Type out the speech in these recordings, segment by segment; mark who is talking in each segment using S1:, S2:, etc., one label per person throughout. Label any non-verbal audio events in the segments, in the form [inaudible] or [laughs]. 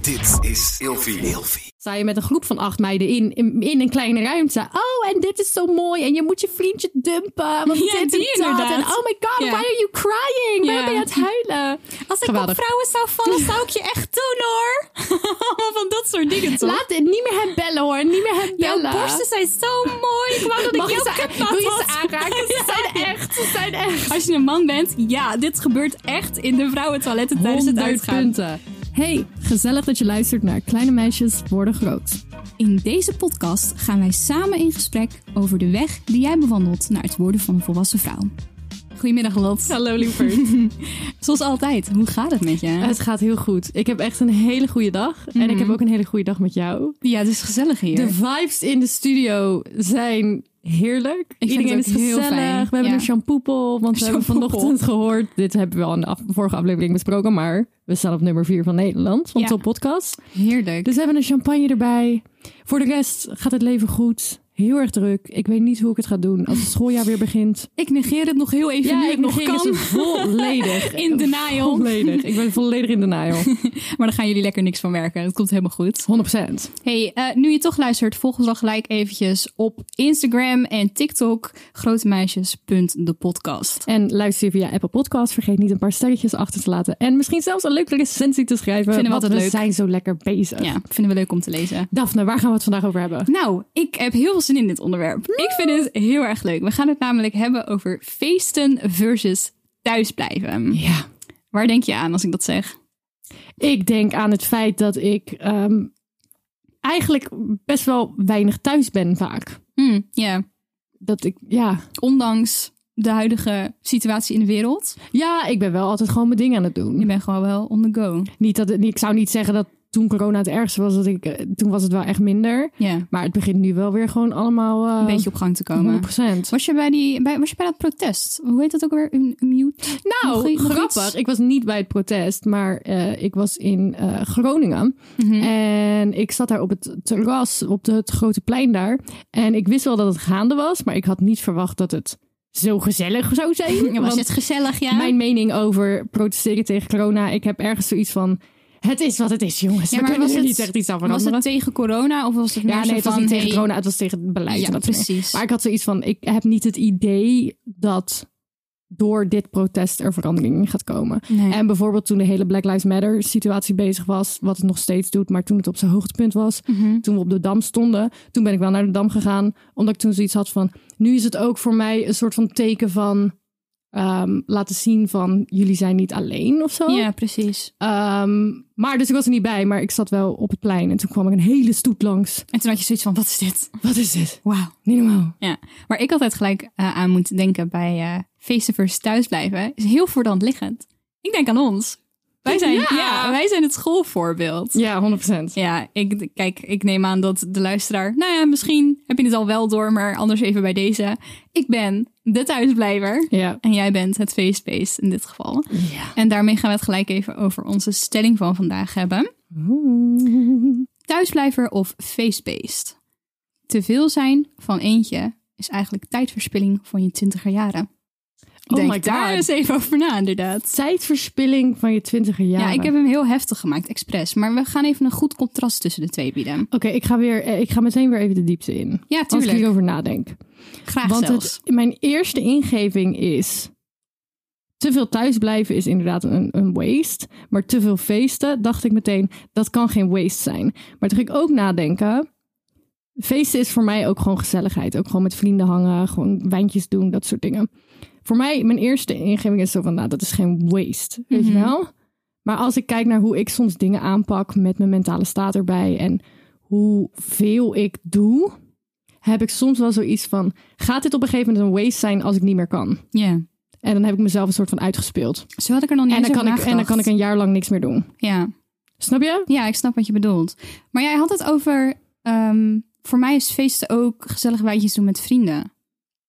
S1: Dit is Ilfie.
S2: Sta je met een groep van acht meiden in, in, in een kleine ruimte. Oh, en dit is zo mooi. En je moet je vriendje dumpen. Want
S3: Ja,
S2: dit en
S3: die
S2: dat.
S3: inderdaad.
S2: En oh my god,
S3: Ja.
S2: why are you crying?
S3: Ja.
S2: Waarom ben je aan het huilen?
S3: Als ik
S2: Geweldig.
S3: op vrouwen zou vallen, zou ik je echt doen hoor. [laughs] Allemaal van dat soort dingen toch?
S2: Laat het niet meer hem bellen hoor. Niet meer hem
S3: Jouw
S2: bellen.
S3: borsten zijn zo mooi. Ik wou dat
S2: Mag
S3: ik
S2: je
S3: jouw
S2: ze,
S3: kutmaat
S2: wil je
S3: had.
S2: ze
S3: [laughs]
S2: aanraken?
S4: [laughs]
S2: Ze zijn echt, ze zijn echt.
S3: Als je een man bent, ja, dit gebeurt echt in de vrouwentoiletten tijdens het
S2: 100
S3: uitgaan.
S2: punten. Hey, gezellig dat je luistert naar Kleine Meisjes Worden Groot.
S3: In deze podcast gaan wij samen in gesprek over de weg die jij bewandelt naar het worden van een volwassen vrouw. Goedemiddag Lot.
S4: Hallo
S3: [laughs]
S4: liever.
S3: Zoals altijd, hoe gaat het met je?
S4: Het gaat heel goed. Ik heb echt een hele goede dag. En
S2: Mhm.
S4: ik heb ook een hele goede dag met jou.
S3: ja, het is gezellig hier.
S4: De vibes in de studio zijn heerlijk.
S3: vind
S4: Iedereen
S3: het
S4: is
S3: ook heel
S4: gezellig.
S3: fijn.
S4: We hebben
S3: Ja.
S4: een shampoo, want we hebben
S3: Shampoopoel.
S4: vanochtend gehoord. Dit hebben we al in de af- vorige aflevering besproken, maar we staan op nummer 4 van Nederland van
S3: Ja.
S4: Top Podcast.
S3: Heerlijk.
S4: Dus we hebben een champagne erbij. Voor de rest gaat het leven goed. Heel erg druk. Ik weet niet hoe ik het ga doen als het schooljaar weer begint.
S3: ik negeer het nog heel even nu ik nog
S4: negeer het
S3: kan.
S4: [laughs] volledig.
S3: In denial.
S4: Volledig. [laughs] Ik ben volledig in denial.
S3: [laughs] Maar daar gaan jullie lekker niks van merken. Het komt helemaal goed.
S4: 100%.
S3: Hey, eh, nu je toch luistert, volg ons dan gelijk eventjes op Instagram en TikTok. Grotemeisjes.depodcast.
S4: En luister je via Apple Podcast. Vergeet niet een paar sterretjes achter te laten. En misschien zelfs een leuke recensie te schrijven.
S3: Vinden we
S4: want
S3: altijd leuk.
S4: zijn zo lekker bezig.
S3: Ja, vinden we leuk om te lezen.
S4: Daphne, waar gaan we het vandaag over hebben?
S3: Nou, ik heb heel veel zin in dit onderwerp. Ik vind het heel erg leuk. We gaan het namelijk hebben over feesten versus thuisblijven.
S4: Ja.
S3: Waar denk je aan als ik dat zeg?
S4: Ik denk aan het feit dat ik ehm, eigenlijk best wel weinig thuis ben vaak.
S3: Hm, Ja,
S4: Dat ik, ja.
S3: ondanks de huidige situatie in de wereld.
S4: Ja, ik ben wel altijd gewoon mijn ding aan het doen.
S3: Je bent gewoon wel on the go.
S4: Niet dat, het- ik zou niet zeggen dat toen corona het ergste was, dat ik, eh, toen was het wel echt minder.
S3: Ja,
S4: Maar het begint nu wel weer gewoon allemaal... eh,
S3: een beetje op gang te komen.
S4: 100%.
S3: Was je bij, die, bij, was je bij dat protest? Hoe heet dat ook weer? Een, een mute?
S4: Nou,
S3: Nog i- nog
S4: grappig.
S3: iets?
S4: Ik was niet bij het protest, maar eh, ik was in eh, Groningen.
S3: Mhm.
S4: En ik zat daar op het terras, op de- het grote plein daar. En ik wist wel dat het gaande was, maar ik had niet verwacht dat het zo gezellig zou zijn.
S3: [laughs] Ja, was
S4: Want
S3: het gezellig, ja?
S4: mijn mening over protesteren tegen corona, ik heb ergens zoiets van... Het is wat het is, jongens.
S3: Ja,
S4: We
S3: maar
S4: kunnen
S3: was
S4: er
S3: het-
S4: niet echt iets aan
S3: Was
S4: veranderen.
S3: het tegen corona of was het meer
S4: Ja,
S3: zo
S4: nee, het was
S3: van,
S4: niet tegen
S3: hey,
S4: corona, het was tegen het beleid.
S3: Ja,
S4: en dat soort dingen.
S3: precies.
S4: Maar ik had zoiets van, ik heb niet het idee dat door dit protest er verandering in gaat komen.
S3: Nee.
S4: En bijvoorbeeld toen de hele Black Lives Matter situatie bezig was, wat het nog steeds doet, maar toen het op zijn hoogtepunt was,
S3: Mhm.
S4: toen we op de Dam stonden, toen ben ik wel naar de Dam gegaan, omdat ik toen zoiets had van, nu is het ook voor mij een soort van teken van ehm, laten zien van, jullie zijn niet alleen of zo.
S3: Ja, precies.
S4: Ehm, maar dus ik was er niet bij, maar ik zat wel op het plein en toen kwam ik een hele stoet langs.
S3: En toen had je zoiets van, wat is dit?
S4: Wat is dit?
S3: Wauw.
S4: Niet normaal.
S3: Ja, waar ik altijd gelijk eh, aan moet denken bij eh feesten versus thuisblijven, is heel voor de hand liggend. Ik denk aan ons. Wij zijn, ja.
S4: Ja.
S3: wij zijn het schoolvoorbeeld.
S4: Ja, 100%.
S3: Ja, ik, kijk, ik neem aan dat de luisteraar... Nou ja, misschien heb je het al wel door, maar anders even bij deze. Ik ben de thuisblijver.
S4: Ja.
S3: En jij bent het feestbeest in dit geval. En daarmee gaan we het gelijk even over onze stelling van vandaag hebben. Thuisblijver of feestbeest? Te veel zijn van eentje is eigenlijk tijdverspilling van je twintiger jaren.
S4: Oh
S3: Denk
S4: my
S3: daar
S4: God.
S3: eens even over na, inderdaad.
S4: Tijdverspilling van je twintiger jaren.
S3: Ja, ik heb hem heel heftig gemaakt, expres. Maar we gaan even een goed contrast tussen de twee bieden.
S4: Oké, ik ga weer. eh, Ik ga meteen weer even de diepte in.
S3: Ja,
S4: Als ik
S3: tuurlijk.
S4: hierover nadenk.
S3: Graag
S4: Want
S3: zelfs.
S4: het, mijn eerste ingeving is. Te veel thuisblijven is inderdaad een, een waste. Maar te veel feesten, dacht ik meteen, dat kan geen waste zijn. Maar toen ging ik ook nadenken. Feesten is voor mij ook gewoon gezelligheid. Ook gewoon met vrienden hangen, gewoon wijntjes doen, dat soort dingen. Voor mij, mijn eerste ingeving is zo van, nou, dat is geen waste. Weet je wel? Maar als ik kijk naar hoe ik soms dingen aanpak met mijn mentale staat erbij en hoeveel ik doe, heb ik soms wel zoiets van: gaat dit op een gegeven moment een waste zijn als ik niet meer kan?
S3: Ja,
S4: En dan heb ik mezelf een soort van uitgespeeld.
S3: zo had ik er nog niet
S4: en, dan
S3: eens
S4: kan ik,
S3: over
S4: en dan kan ik
S3: nagedacht.
S4: een jaar lang niks meer doen.
S3: Ja.
S4: Snap je?
S3: ja, ik snap wat je bedoelt. Maar jij had het over... ehm, voor mij is feesten ook gezellig wijntjes doen met vrienden.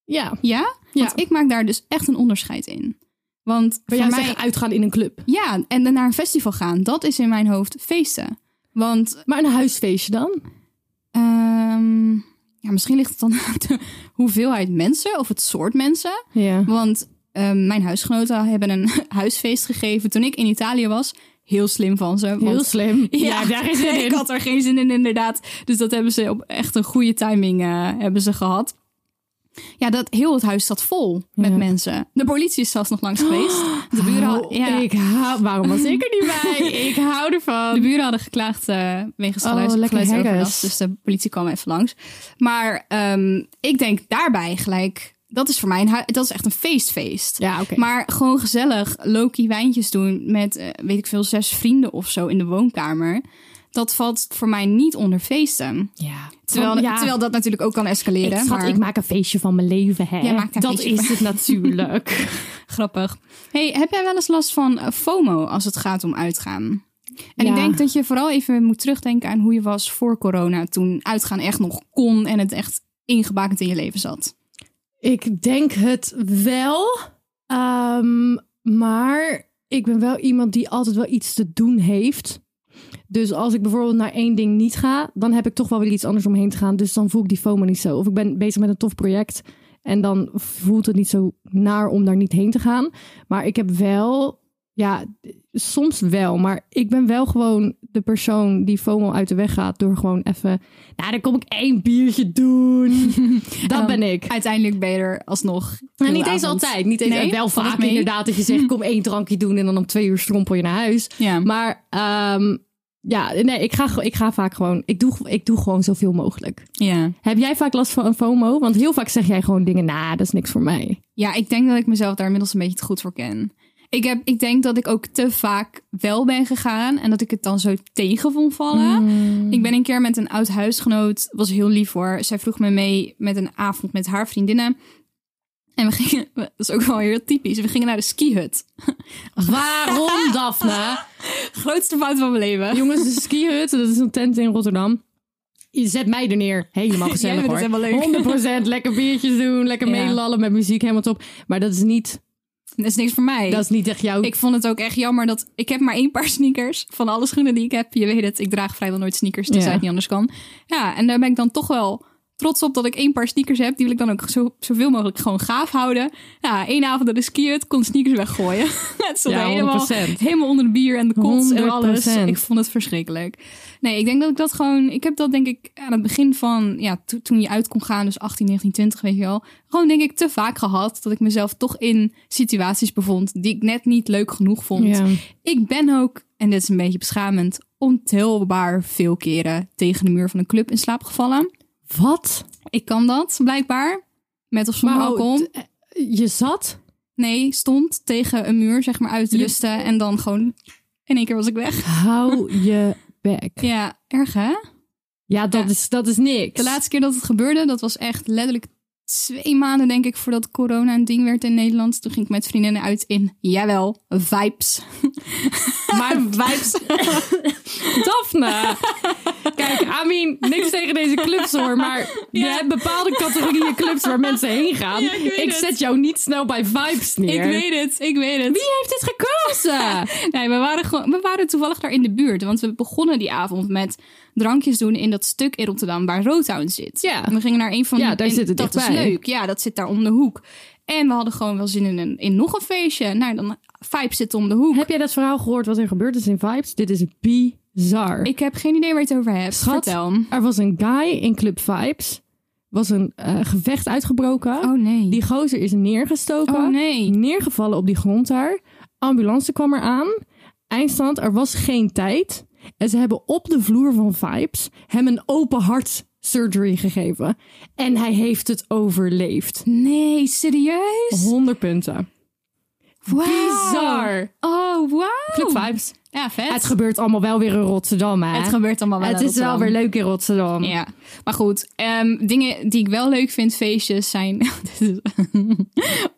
S4: Ja.
S3: Ja? Want ik maak daar dus echt een onderscheid in. Want
S4: Bij
S3: voor
S4: jou
S3: mij...
S4: zeggen uitgaan in een club.
S3: Ja, en dan naar een festival gaan. Dat is in mijn hoofd feesten. Want
S4: Maar een huisfeestje dan?
S3: ehm, ja, misschien ligt het dan [laughs] aan de hoeveelheid mensen of het soort mensen.
S4: Ja.
S3: [laughs] Want ehm, mijn huisgenoten hebben een huisfeest gegeven toen ik in Italië was. heel slim van ze. want-
S4: Heel slim.
S3: Ja,
S4: Ja, daar
S3: [laughs]
S4: is het
S3: ik
S4: in.
S3: had er geen zin in, inderdaad. Dus dat hebben ze op echt een goede timing eh, hebben ze gehad. Ja, dat, heel het huis zat vol met
S4: Ja.
S3: mensen. De politie is zelfs nog langs geweest. De buren, had-
S4: Oh,
S3: ja,
S4: ik hou, waarom was ik er niet
S3: [laughs]
S4: bij? Ik hou
S3: de
S4: ervan.
S3: buren hadden geklaagd eh wegens
S4: Oh,
S3: geluids,
S4: lekker
S3: geluidsoverlast.
S4: haggis.
S3: Dus de politie kwam even langs. Maar ehm, ik denk daarbij gelijk... Dat is voor mij een hui- dat is echt een feestfeest.
S4: Ja, oké.
S3: Maar gewoon gezellig Loki wijntjes doen met, eh, weet ik veel, zes vrienden of zo in de woonkamer. Dat valt voor mij niet onder feesten.
S4: Ja.
S3: Terwijl,
S4: Oh, Ja.
S3: terwijl dat natuurlijk ook kan escaleren.
S4: Ik, schat,
S3: maar
S4: ik maak een feestje van mijn leven, hè?
S3: Jij maakt een
S4: dat
S3: feestje
S4: is
S3: van-
S4: het
S3: [laughs]
S4: natuurlijk.
S3: grappig. Hey, heb jij wel eens last van eh, FOMO als het gaat om uitgaan? En
S4: Ja.
S3: ik denk dat je vooral even moet terugdenken aan hoe je was voor corona. Toen uitgaan echt nog kon en het echt ingebakend in je leven zat.
S4: ik denk het wel. Ehm, maar ik ben wel iemand die altijd wel iets te doen heeft. Dus als ik bijvoorbeeld naar één ding niet ga, dan heb ik toch wel weer iets anders omheen te gaan. Dus dan voel ik die FOMO niet zo. Of ik ben bezig met een tof project en dan voelt het niet zo naar om daar niet heen te gaan. Maar ik heb wel, ja, soms wel. Maar ik ben wel gewoon de persoon die FOMO uit de weg gaat door gewoon even, nou, dan kom ik één biertje doen.
S3: En
S4: Dat
S3: dan
S4: ben ik.
S3: Uiteindelijk ben je er alsnog.
S4: Nou,
S3: heel
S4: niet eens
S3: avond.
S4: altijd. Niet eens,
S3: Nee?
S4: wel
S3: Valt het
S4: vaak
S3: mee? Mhm.
S4: inderdaad dat je zegt, kom één drankje doen en dan om twee uur strompel je naar huis.
S3: Ja.
S4: Maar ehm, ja, nee, ik ga, ge- ik ga vaak gewoon, ik doe, ik doe gewoon zoveel mogelijk.
S3: ja.
S4: Heb jij vaak last van een FOMO? Want heel vaak zeg jij gewoon dingen, nou, dat is niks voor mij.
S3: Ja, ik denk dat ik mezelf daar inmiddels een beetje te goed voor ken. Ik, heb, ik denk dat ik ook te vaak wel ben gegaan en dat ik het dan zo tegen vond vallen. Ik ben een keer met een oud huisgenoot, was heel lief hoor. Zij vroeg me mee met een avond met haar vriendinnen. En we gingen, [laughs] dat is ook wel heel typisch, we gingen naar de skihut. [laughs]
S4: Waarom, Daphne?
S3: Grootste fout van mijn leven.
S4: Jongens, de skihut, dat is een tent in Rotterdam. Je zet mij er neer.
S3: [laughs]
S4: Helemaal gezellig
S3: vindt
S4: hoor.
S3: het helemaal leuk.
S4: 100% lekker biertjes doen, lekker
S3: Ja.
S4: meelallen met muziek helemaal top. Maar dat is niet,
S3: Dat is niks voor mij.
S4: dat is niet echt jouw
S3: Ik vond het ook echt jammer dat ik heb maar één paar [laughs] sneakers van alle schoenen die ik heb. Je weet het, ik draag vrijwel nooit sneakers, tenzij
S4: Ja.
S3: het niet anders kan. Ja, en daar ben ik dan toch wel trots op dat ik één paar sneakers heb. Die wil ik dan ook zo, zoveel mogelijk gewoon gaaf houden. Ja, één avond dat de skiën kon sneakers weggooien. [laughs] het stond
S4: Ja,
S3: helemaal,
S4: 100%.
S3: helemaal onder de bier en de kots en alles.
S4: 100%.
S3: Ik vond het verschrikkelijk. Nee, ik denk dat ik dat gewoon... Ik heb dat denk ik aan het begin van... Ja, to- toen je uit kon gaan, dus 18, 19, 20, weet je wel. Gewoon denk ik te vaak gehad dat ik mezelf toch in situaties bevond... die ik net niet leuk genoeg vond.
S4: Ja.
S3: Ik ben ook, en dit is een beetje beschamend... ontelbaar veel keren tegen de muur van een club in slaap gevallen.
S4: Wat?
S3: Ik kan dat, blijkbaar. Met of zonder
S4: Maar
S3: alcohol.
S4: oh, d- Je zat? [laughs]
S3: Nee, stond tegen een muur, zeg maar, uit te rusten. En dan gewoon... In één keer was ik weg.
S4: Hou je bek.
S3: Ja, erg hè?
S4: Ja, dat,
S3: Ja.
S4: Is, dat is niks.
S3: De laatste keer dat het gebeurde, dat was echt letterlijk twee maanden, denk ik, voordat corona een ding werd in Nederland. Toen ging ik met vriendinnen uit in, jawel, vibes.
S4: Maar
S3: [laughs] vibes.
S4: [laughs] Daphne. Kijk, I mean, niks tegen deze clubs hoor. Maar je hebt bepaalde categorieën clubs waar mensen heen gaan.
S3: Ja, ik weet het.
S4: zet jou niet snel bij vibes neer.
S3: ik weet het, ik weet het.
S4: Wie heeft dit gekozen?
S3: [laughs] Nee, we waren, gewoon, we waren toevallig daar in de buurt. Want we begonnen die avond met drankjes doen in dat stuk in Rotterdam waar Rotown zit.
S4: Ja.
S3: We gingen naar een van
S4: Ja,
S3: die-
S4: daar
S3: en
S4: zit het
S3: Dat is
S4: dichtbij.
S3: leuk. Ja, dat zit daar om de hoek. En we hadden gewoon wel zin in, een, in nog een feestje. Nou, dan vibes zit om de hoek.
S4: Heb jij dat verhaal gehoord wat er gebeurd is in vibes? Dit is bizar.
S3: Ik heb geen idee waar je het over hebt.
S4: Schat,
S3: Vertel.
S4: Er was een guy in club vibes. Was een eh, gevecht uitgebroken.
S3: Oh nee.
S4: Die gozer is neergestoken.
S3: Oh, nee.
S4: Neergevallen op die grond daar. Ambulance kwam eraan. Eindstand, er was geen tijd. En ze hebben op de vloer van Vibes hem een open hart surgery gegeven. En hij heeft het overleefd.
S3: Nee, serieus?
S4: 100 punten.
S3: Wow.
S4: Bizar.
S3: Oh, wow.
S4: Club Vibes.
S3: Ja, vet.
S4: Het gebeurt allemaal wel weer in Rotterdam, hè?
S3: Het gebeurt allemaal wel.
S4: Het
S3: in
S4: is wel
S3: Rotterdam.
S4: weer leuk in Rotterdam.
S3: Ja, maar goed. ehm, dingen die ik wel leuk vind, feestjes zijn. [laughs] Dit is-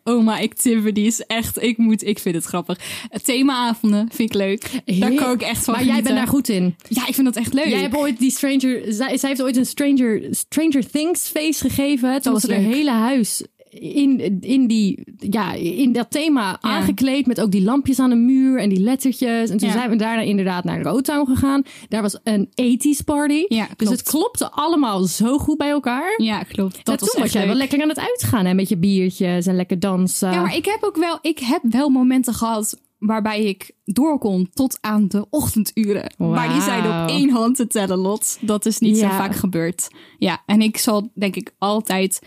S3: Oh, Oma activities, echt. Ik moet, ik vind het grappig. Themaavonden vind ik leuk. Daar
S4: Heer-
S3: kan ik echt van.
S4: Maar jij bent
S3: genieten.
S4: daar goed in.
S3: Ja, ik vind dat echt leuk.
S4: Jij hebt ooit die Stranger... Zij, zij heeft ooit een Stranger, Stranger Things feest gegeven. Toen
S3: was
S4: was er een
S3: leuk.
S4: hele huis in, in, die, ja, in dat thema aangekleed. Met ook die lampjes aan de muur en die lettertjes. En toen
S3: Ja.
S4: zijn we daarna inderdaad naar Rotown gegaan. Daar was een 80s party.
S3: Ja,
S4: dus
S3: klopt.
S4: het klopte allemaal zo goed bij elkaar.
S3: Ja, klopt. Dat
S4: Dat
S3: was
S4: toen was
S3: echt
S4: jij
S3: leuk.
S4: wel lekker aan het uitgaan hè, met je biertjes en lekker dansen.
S3: Ja, maar ik heb ook wel, ik heb wel momenten gehad waarbij ik door kon tot aan de ochtenduren. Maar die zijn op
S4: Wauw.
S3: één hand te tellen, Lot. Dat is niet zo
S4: Ja.
S3: vaak gebeurd. Ja, en ik zal denk ik altijd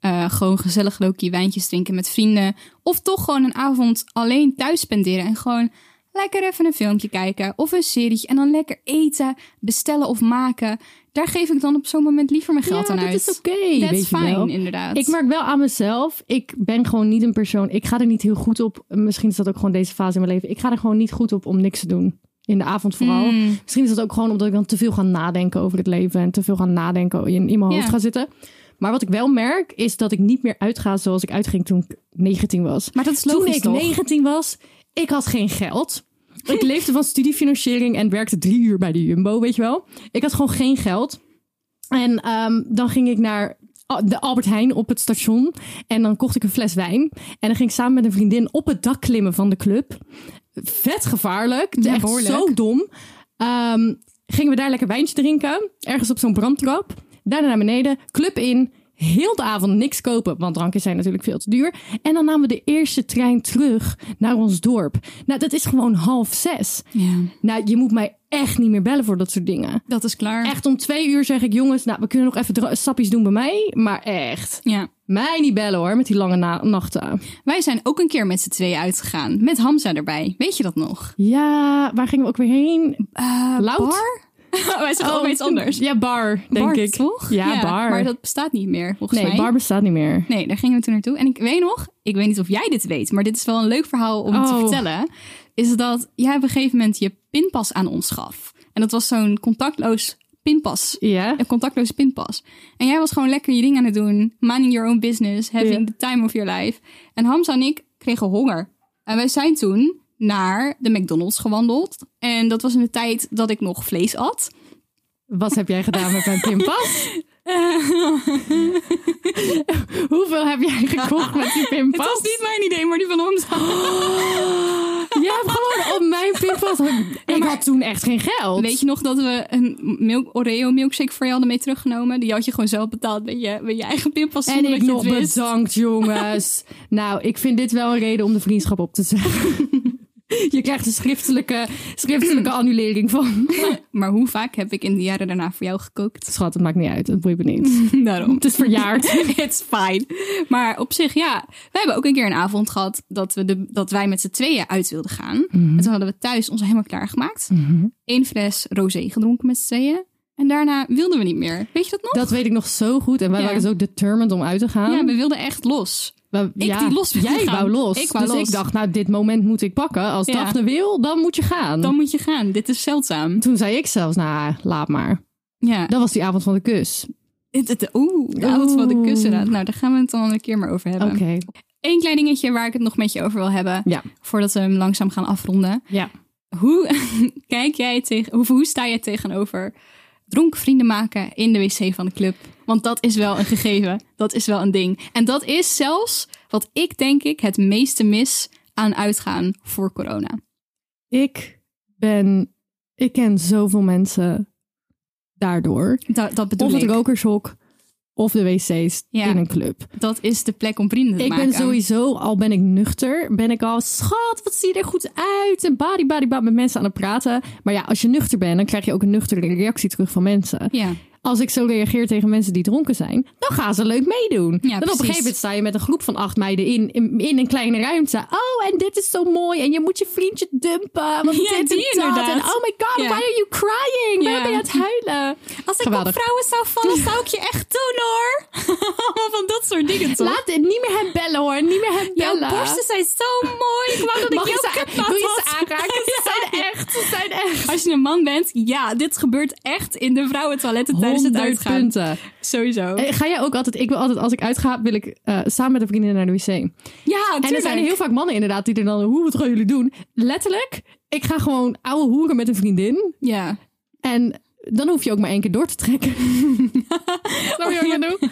S3: eh, gewoon gezellig lokie wijntjes drinken met vrienden. Of toch gewoon een avond alleen thuis spenderen en gewoon lekker even een filmpje kijken of een serietje. En dan lekker eten, bestellen of maken. Daar geef ik dan op zo'n moment liever mijn geld
S4: ja,
S3: aan
S4: dat
S3: uit.
S4: is oké. weet
S3: That's
S4: je wel.
S3: fine, inderdaad.
S4: Ik merk wel aan mezelf, ik ben gewoon niet een persoon. Ik ga er niet heel goed op. Misschien is dat ook gewoon deze fase in mijn leven. Ik ga er gewoon niet goed op om niks te doen. In de avond vooral.
S3: Mm.
S4: Misschien is dat ook gewoon omdat ik dan te veel ga nadenken over het leven. En te veel ga nadenken in, in mijn
S3: Ja.
S4: hoofd ga zitten. Maar wat ik wel merk, is dat ik niet meer uitga zoals ik uitging toen ik 19 was.
S3: Maar dat is
S4: Toen
S3: logisch,
S4: ik
S3: toch?
S4: 19 was, ik had geen geld.
S3: [laughs]
S4: Ik leefde van studiefinanciering en werkte drie uur bij de Jumbo, weet je wel. Ik had gewoon geen geld. En ehm, dan ging ik naar Al- de Albert Heijn op het station. En dan kocht ik een fles wijn. En dan ging ik samen met een vriendin op het dak klimmen van de club. Vet gevaarlijk.
S3: Ja,
S4: echt
S3: behoorlijk.
S4: zo dom. Ehm, gingen we daar lekker wijntje drinken. Ergens op zo'n brandtrap. Daarna naar beneden. Club in. Heel de avond niks kopen, want drankjes zijn natuurlijk veel te duur. En dan namen we de eerste trein terug naar ons dorp. Nou, dat is gewoon half zes.
S3: Ja,
S4: Nou, je moet mij echt niet meer bellen voor dat soort dingen.
S3: dat is klaar.
S4: Echt om twee uur zeg ik, jongens, nou, we kunnen nog even dra- sappies doen bij mij. Maar echt,
S3: Ja.
S4: mij niet bellen hoor, met die lange na- nachten.
S3: Wij zijn ook een keer met z'n tweeën uitgegaan. Met Hamza erbij. Weet je dat nog?
S4: Ja, waar gingen we ook weer heen? Loud?
S3: Bar? [laughs] Wij zijn gewoon
S4: Eh, Oh,
S3: bij iets anders.
S4: Ja, bar, denk
S3: Bar,
S4: ik.
S3: toch?
S4: Ja, bar.
S3: Maar dat bestaat niet meer, volgens
S4: nee,
S3: mij.
S4: bar bestaat niet meer.
S3: Nee, daar gingen we toen naartoe. En ik weet nog, ik weet niet of jij dit weet, maar dit is wel een leuk verhaal om te
S4: Oh.
S3: vertellen. Is dat jij op een gegeven moment je pinpas aan ons gaf. En dat was zo'n contactloos pinpas.
S4: Ja?
S3: Een contactloze pinpas. En jij was gewoon lekker je ding aan het doen. Minding your own business. Having
S4: Ja.
S3: the time of your life. En Hamza en ik kregen honger. En wij zijn toen naar de McDonald's gewandeld. En dat was in de tijd dat ik nog
S4: [laughs]
S3: vlees at.
S4: Wat heb jij gedaan met mijn pinpas? [laughs] Hoeveel heb jij gekocht met [laughs] die
S3: Het was
S4: pinpas?
S3: niet mijn idee, maar die van Hamza.
S4: Jij hebt gewoon op mijn pinpas... Ik had toen echt geen geld.
S3: Weet je nog dat we een milk, Oreo milkshake voor je hadden mee teruggenomen? Die had je gewoon zelf betaald met je, met je eigen pinpas.
S4: En
S3: zonder
S4: ik
S3: dat je
S4: nog
S3: het wist.
S4: bedankt,
S3: [laughs]
S4: jongens. nou, ik vind dit wel een reden om de vriendschap op te zeggen. [laughs] Je krijgt een schriftelijke,
S3: [clears throat]
S4: schriftelijke annulering van.
S3: Maar hoe vaak heb ik in de jaren daarna voor
S4: [laughs]
S3: jou gekookt?
S4: Schat, het maakt niet uit. Het boeit me
S3: [laughs]
S4: niet.
S3: Daarom.
S4: Het is verjaard.
S3: [laughs] It's fine. Maar op zich, ja. We hebben ook een keer een avond gehad dat, we de, dat wij met z'n tweeën uit wilden gaan.
S4: Mhm.
S3: En toen hadden we thuis ons helemaal klaargemaakt. Eén fles rosé gedronken met z'n tweeën. En daarna wilden we niet meer. Weet je dat nog?
S4: Dat weet ik nog zo goed. En wij
S3: Ja.
S4: waren zo determined om uit te gaan.
S3: Ja, we wilden echt los.
S4: We-
S3: ik die los wilde
S4: Jij
S3: gaan.
S4: wou los.
S3: Ik wou
S4: dus
S3: los.
S4: ik dacht, nou, dit moment moet ik pakken. Als
S3: Ja.
S4: Daphne wil, dan moet je gaan.
S3: Dan moet je gaan. Dit is zeldzaam.
S4: Toen zei ik zelfs, nou, laat maar.
S3: Ja.
S4: Dat was die avond van de kus.
S3: Het- het- Oeh, de avond van de
S4: Oeh.
S3: kussen. Nou, daar gaan we het dan een keer maar over hebben.
S4: Oké.
S3: Eén klein dingetje waar ik het nog met je over wil hebben.
S4: Ja.
S3: Voordat we hem langzaam gaan afronden.
S4: Ja.
S3: Hoe, [laughs] kijk jij tegen, hoe, hoe sta jij tegenover dronken vrienden maken in de wc van de club? Want dat is wel een gegeven. Dat is wel een ding. En dat is zelfs wat ik denk ik het meeste mis aan uitgaan voor corona.
S4: Ik ben... Ik ken zoveel mensen daardoor.
S3: Da- dat bedoel
S4: Of
S3: ik.
S4: het rokershok. Of de wc's
S3: Ja.
S4: in een club.
S3: Dat is de plek om vrienden te
S4: Ik
S3: maken.
S4: ben sowieso, al ben ik nuchter, ben ik al... Schat, wat zie je er goed uit? En badi, badi, badi, met mensen aan het praten. Maar ja, als je nuchter bent, dan krijg je ook een nuchtere reactie terug van mensen.
S3: Ja.
S4: Als ik zo reageer tegen mensen die dronken zijn, dan gaan ze leuk meedoen. dan op een
S3: precies.
S4: gegeven moment sta je met een groep van acht meiden in, in, in een kleine ruimte. Oh, en dit is zo mooi. En je moet je vriendje dumpen. Want
S3: Ja,
S4: dit
S3: die
S4: en dat.
S3: inderdaad.
S4: En oh my god,
S3: Ja.
S4: why are you crying?
S3: Ja.
S4: Waarom ben je aan het huilen?
S3: Als ik
S4: Geweldig.
S3: op vrouwen zou [laughs] vallen, zou ik je echt doen hoor. Allemaal van dat soort dingen toch?
S4: Laat het niet meer hem bellen hoor. Niet meer hem
S3: Jouw
S4: bellen.
S3: borsten zijn zo mooi. Ik wou dat
S4: Mag
S3: ik
S4: je
S3: jouw
S4: ze,
S3: kutmaat
S4: wil je
S3: had.
S4: ze
S3: [laughs]
S4: aanraken? Ze zijn echt, ze zijn echt.
S3: Als je een man bent, ja, dit gebeurt echt in de vrouwentoiletten tijdens het
S4: 100
S3: uitgaan.
S4: punten.
S3: Sowieso.
S4: Eh, Ga jij ook altijd, ik wil altijd, als ik uitga, wil ik eh, samen met een vriendin naar de wc.
S3: ja,
S4: En er zijn heel vaak mannen inderdaad die er dan, hoe, wat gaan jullie doen? Letterlijk, ik ga gewoon ouwe hoeren met een vriendin.
S3: Ja.
S4: En dan hoef je ook maar één keer door te trekken. [laughs] Snap je wat ik bedoel?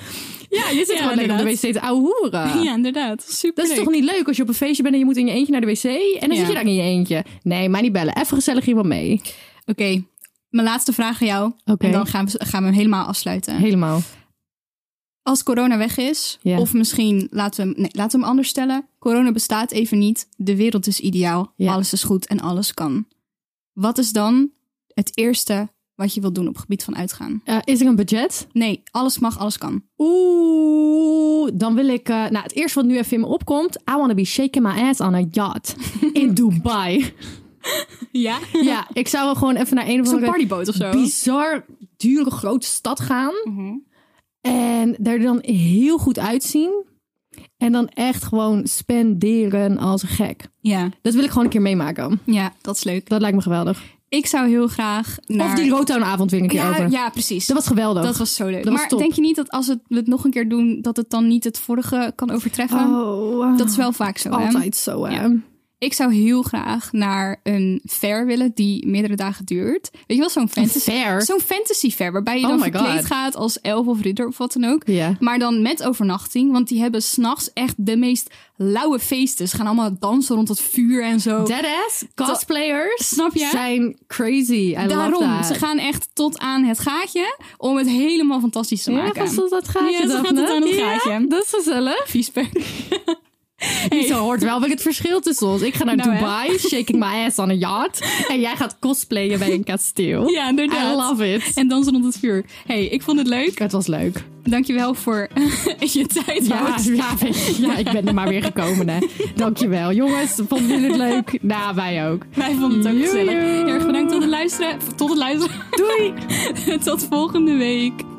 S4: Ja, je zit
S3: Ja,
S4: gewoon lekker op de wc
S3: inderdaad.
S4: te ouwe hoeren.
S3: ja, inderdaad. Super.
S4: Ah. Dat is toch niet leuk als je op een feestje bent en je moet in je eentje naar de wc. En dan
S3: Ja.
S4: zit je daar in je eentje. Nee, maar niet bellen. Even gezellig iemand mee.
S3: Oké, mijn laatste vraag aan jou.
S4: Oké.
S3: En dan gaan we, gaan we hem helemaal afsluiten.
S4: Helemaal.
S3: als corona weg is,
S4: Ja.
S3: of misschien laten we, hem, nee, laten we hem anders stellen. Corona bestaat even niet. De wereld is ideaal.
S4: Ja.
S3: Alles is goed en alles kan. Wat is dan het eerste wat je wilt doen op het gebied van uitgaan?
S4: Eh, is er een budget?
S3: Nee, alles mag, alles kan.
S4: Oeh, dan wil ik... eh, nou, het eerste wat nu even in me opkomt. I wanna be shaking my ass on a yacht [laughs] in Dubai.
S3: Ja?
S4: ja, ik zou wel gewoon even naar een of
S3: Zo'n
S4: andere
S3: partyboot of zo.
S4: bizar dure grote stad gaan.
S3: Mhm.
S4: En daar dan heel goed uitzien. En dan echt gewoon spenderen als een gek.
S3: Ja,
S4: Dat wil ik gewoon een keer meemaken.
S3: ja, dat is leuk.
S4: Dat lijkt me geweldig.
S3: Ik zou heel graag naar...
S4: Of die Rotown avond weer een keer
S3: ja,
S4: over.
S3: ja, precies.
S4: Dat was geweldig.
S3: Dat was zo leuk.
S4: Dat was
S3: maar
S4: top.
S3: denk je niet dat als het- we het nog een keer doen, dat het dan niet het vorige kan overtreffen?
S4: oh,
S3: Dat is wel vaak zo. hè?
S4: altijd zo. Hè?
S3: Ja. Ik zou heel graag naar een fair willen die meerdere dagen duurt. Weet je wel, zo'n
S4: [laughs]
S3: fantasy,
S4: Fair.
S3: zo'n fantasy fair waarbij je
S4: Oh
S3: dan
S4: my
S3: verkleed
S4: God.
S3: gaat als elf of ridder of wat dan ook.
S4: Ja.
S3: Maar dan met overnachting, want die hebben s'nachts echt de meest lauwe feesten. Ze gaan allemaal dansen rond het vuur en zo.
S4: Deadass cosplayers
S3: Nou, Snap je?
S4: zijn crazy. I love
S3: Daarom,
S4: that.
S3: ze gaan echt tot aan het gaatje om het helemaal fantastisch te
S4: ja,
S3: maken.
S4: gaat ze dat gaatje,
S3: Ja, ze gaat
S4: Daphne?
S3: het aan het
S4: Ja,
S3: gaatje.
S4: dat is gezellig. [laughs]
S3: Viespeuk.
S4: Zo hoort wel weer het verschil tussen ons. Ik ga naar
S3: Nou, hè?
S4: Dubai, shaking my ass on a yacht. En jij gaat cosplayen bij een kasteel.
S3: Ja, inderdaad.
S4: I love it.
S3: En dansen rond het vuur. hey, ik vond het leuk.
S4: Het was leuk.
S3: Dankjewel voor [laughs] je tijd,
S4: Ja,
S3: Wout.
S4: ja, ja, ik ben er maar weer gekomen, hè. Dankjewel. Jongens, vonden jullie het leuk? Nou, wij ook.
S3: Wij vonden het ook
S4: Joejoe.
S3: gezellig. Heel erg bedankt [laughs] tot het luisteren. Tot het luisteren.
S4: Doei!
S3: tot volgende week.